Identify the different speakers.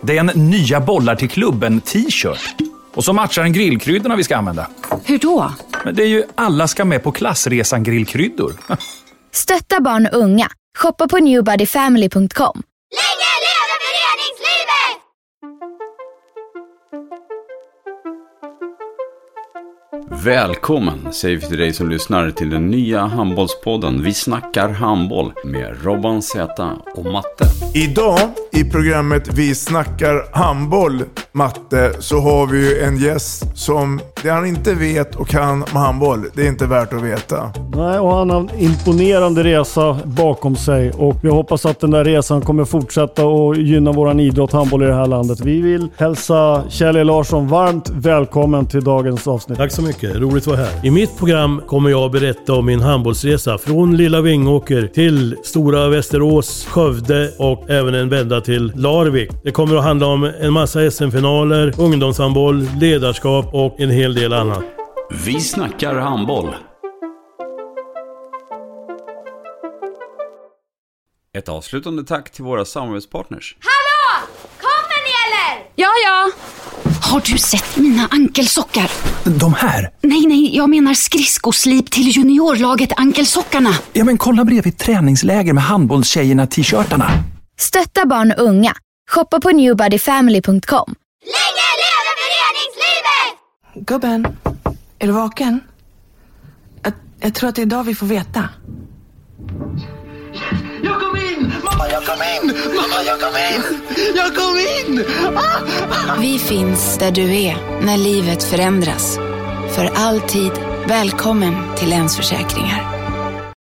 Speaker 1: Det är en nya bollar till klubben-t-shirt. Och så matchar den grillkryddorna vi ska använda.
Speaker 2: Hur då?
Speaker 1: Men det är ju alla ska med på klassresan grillkryddor.
Speaker 3: Stötta barn och unga. Shoppa på newbodyfamily.com.
Speaker 4: Länge leve föreningslivet!
Speaker 5: Välkommen säger vi till dig som lyssnar till den nya handbollspodden Vi snackar handboll med Robban Z och Matte.
Speaker 6: Idag i programmet Vi snackar handboll, Matte, så har vi ju en gäst som, det han inte vet och kan om handboll, det är inte värt att veta.
Speaker 7: Nej, och han har en imponerande resa bakom sig och jag hoppas att den där resan kommer fortsätta och gynna våran idrott handboll i det här landet. Vi vill hälsa Kjell E. Larsson varmt välkommen till dagens avsnitt.
Speaker 8: Tack så mycket, roligt att vara här. I mitt program kommer jag att berätta om min handbollsresa från lilla Vingåker till stora Västerås, Skövde och även en vända till Larvik. Det kommer att handla om en massa SM-finaler, ungdomshandboll, ledarskap och en hel del annat.
Speaker 5: Vi snackar handboll. Ett avslutande tack till våra samarbetspartners.
Speaker 4: Hallå! Kommer ni eller?
Speaker 2: Ja, ja. Har du sett mina ankelsockar?
Speaker 1: De här?
Speaker 2: Nej, nej, jag menar skridskoslip till juniorlaget Ankelsockarna.
Speaker 1: Ja, men kolla bredvid träningsläger med handbollstjejerna-t-shirtarna.
Speaker 3: Stötta barn och unga. Shoppa på newbodyfamily.com.
Speaker 4: Länge leve föreningslivet!
Speaker 9: Gubben, är du vaken? Jag, jag tror att det är idag vi får veta.
Speaker 10: Jag kom in! Mamma, jag kom in! Mamma, jag kom in! Jag kom in! Ah!
Speaker 2: Vi finns där du är när livet förändras. För alltid välkommen till Länsförsäkringar.